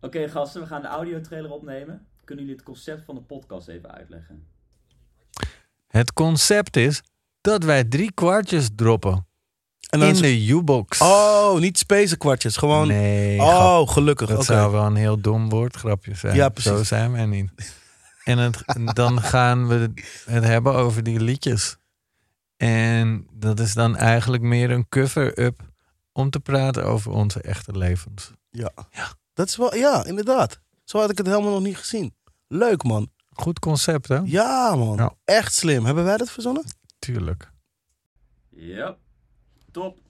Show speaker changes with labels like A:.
A: Oké gasten, we gaan de audiotrailer opnemen. Kunnen jullie het concept van de podcast even uitleggen?
B: Het concept is dat wij drie kwartjes droppen
C: En
B: in
C: is-
B: de U-box.
C: Oh, niet space kwartjes. Gewoon.
B: nee. grap.
C: oh, gelukkig.
B: dat
C: Oké.
B: zou wel een heel dom woordgrapje zijn.
C: Ja, precies.
B: Zo zijn wij niet. En het, dan gaan we het hebben over die liedjes. En dat is dan eigenlijk meer een cover-up om te praten over onze echte levens.
C: Ja. Dat is wel, ja, inderdaad. Zo had ik het helemaal nog niet gezien. Leuk, man.
B: Goed concept, hè?
C: Ja, man.
B: Ja.
C: Echt slim. Hebben wij dat verzonnen?
B: Tuurlijk.
A: Ja, top.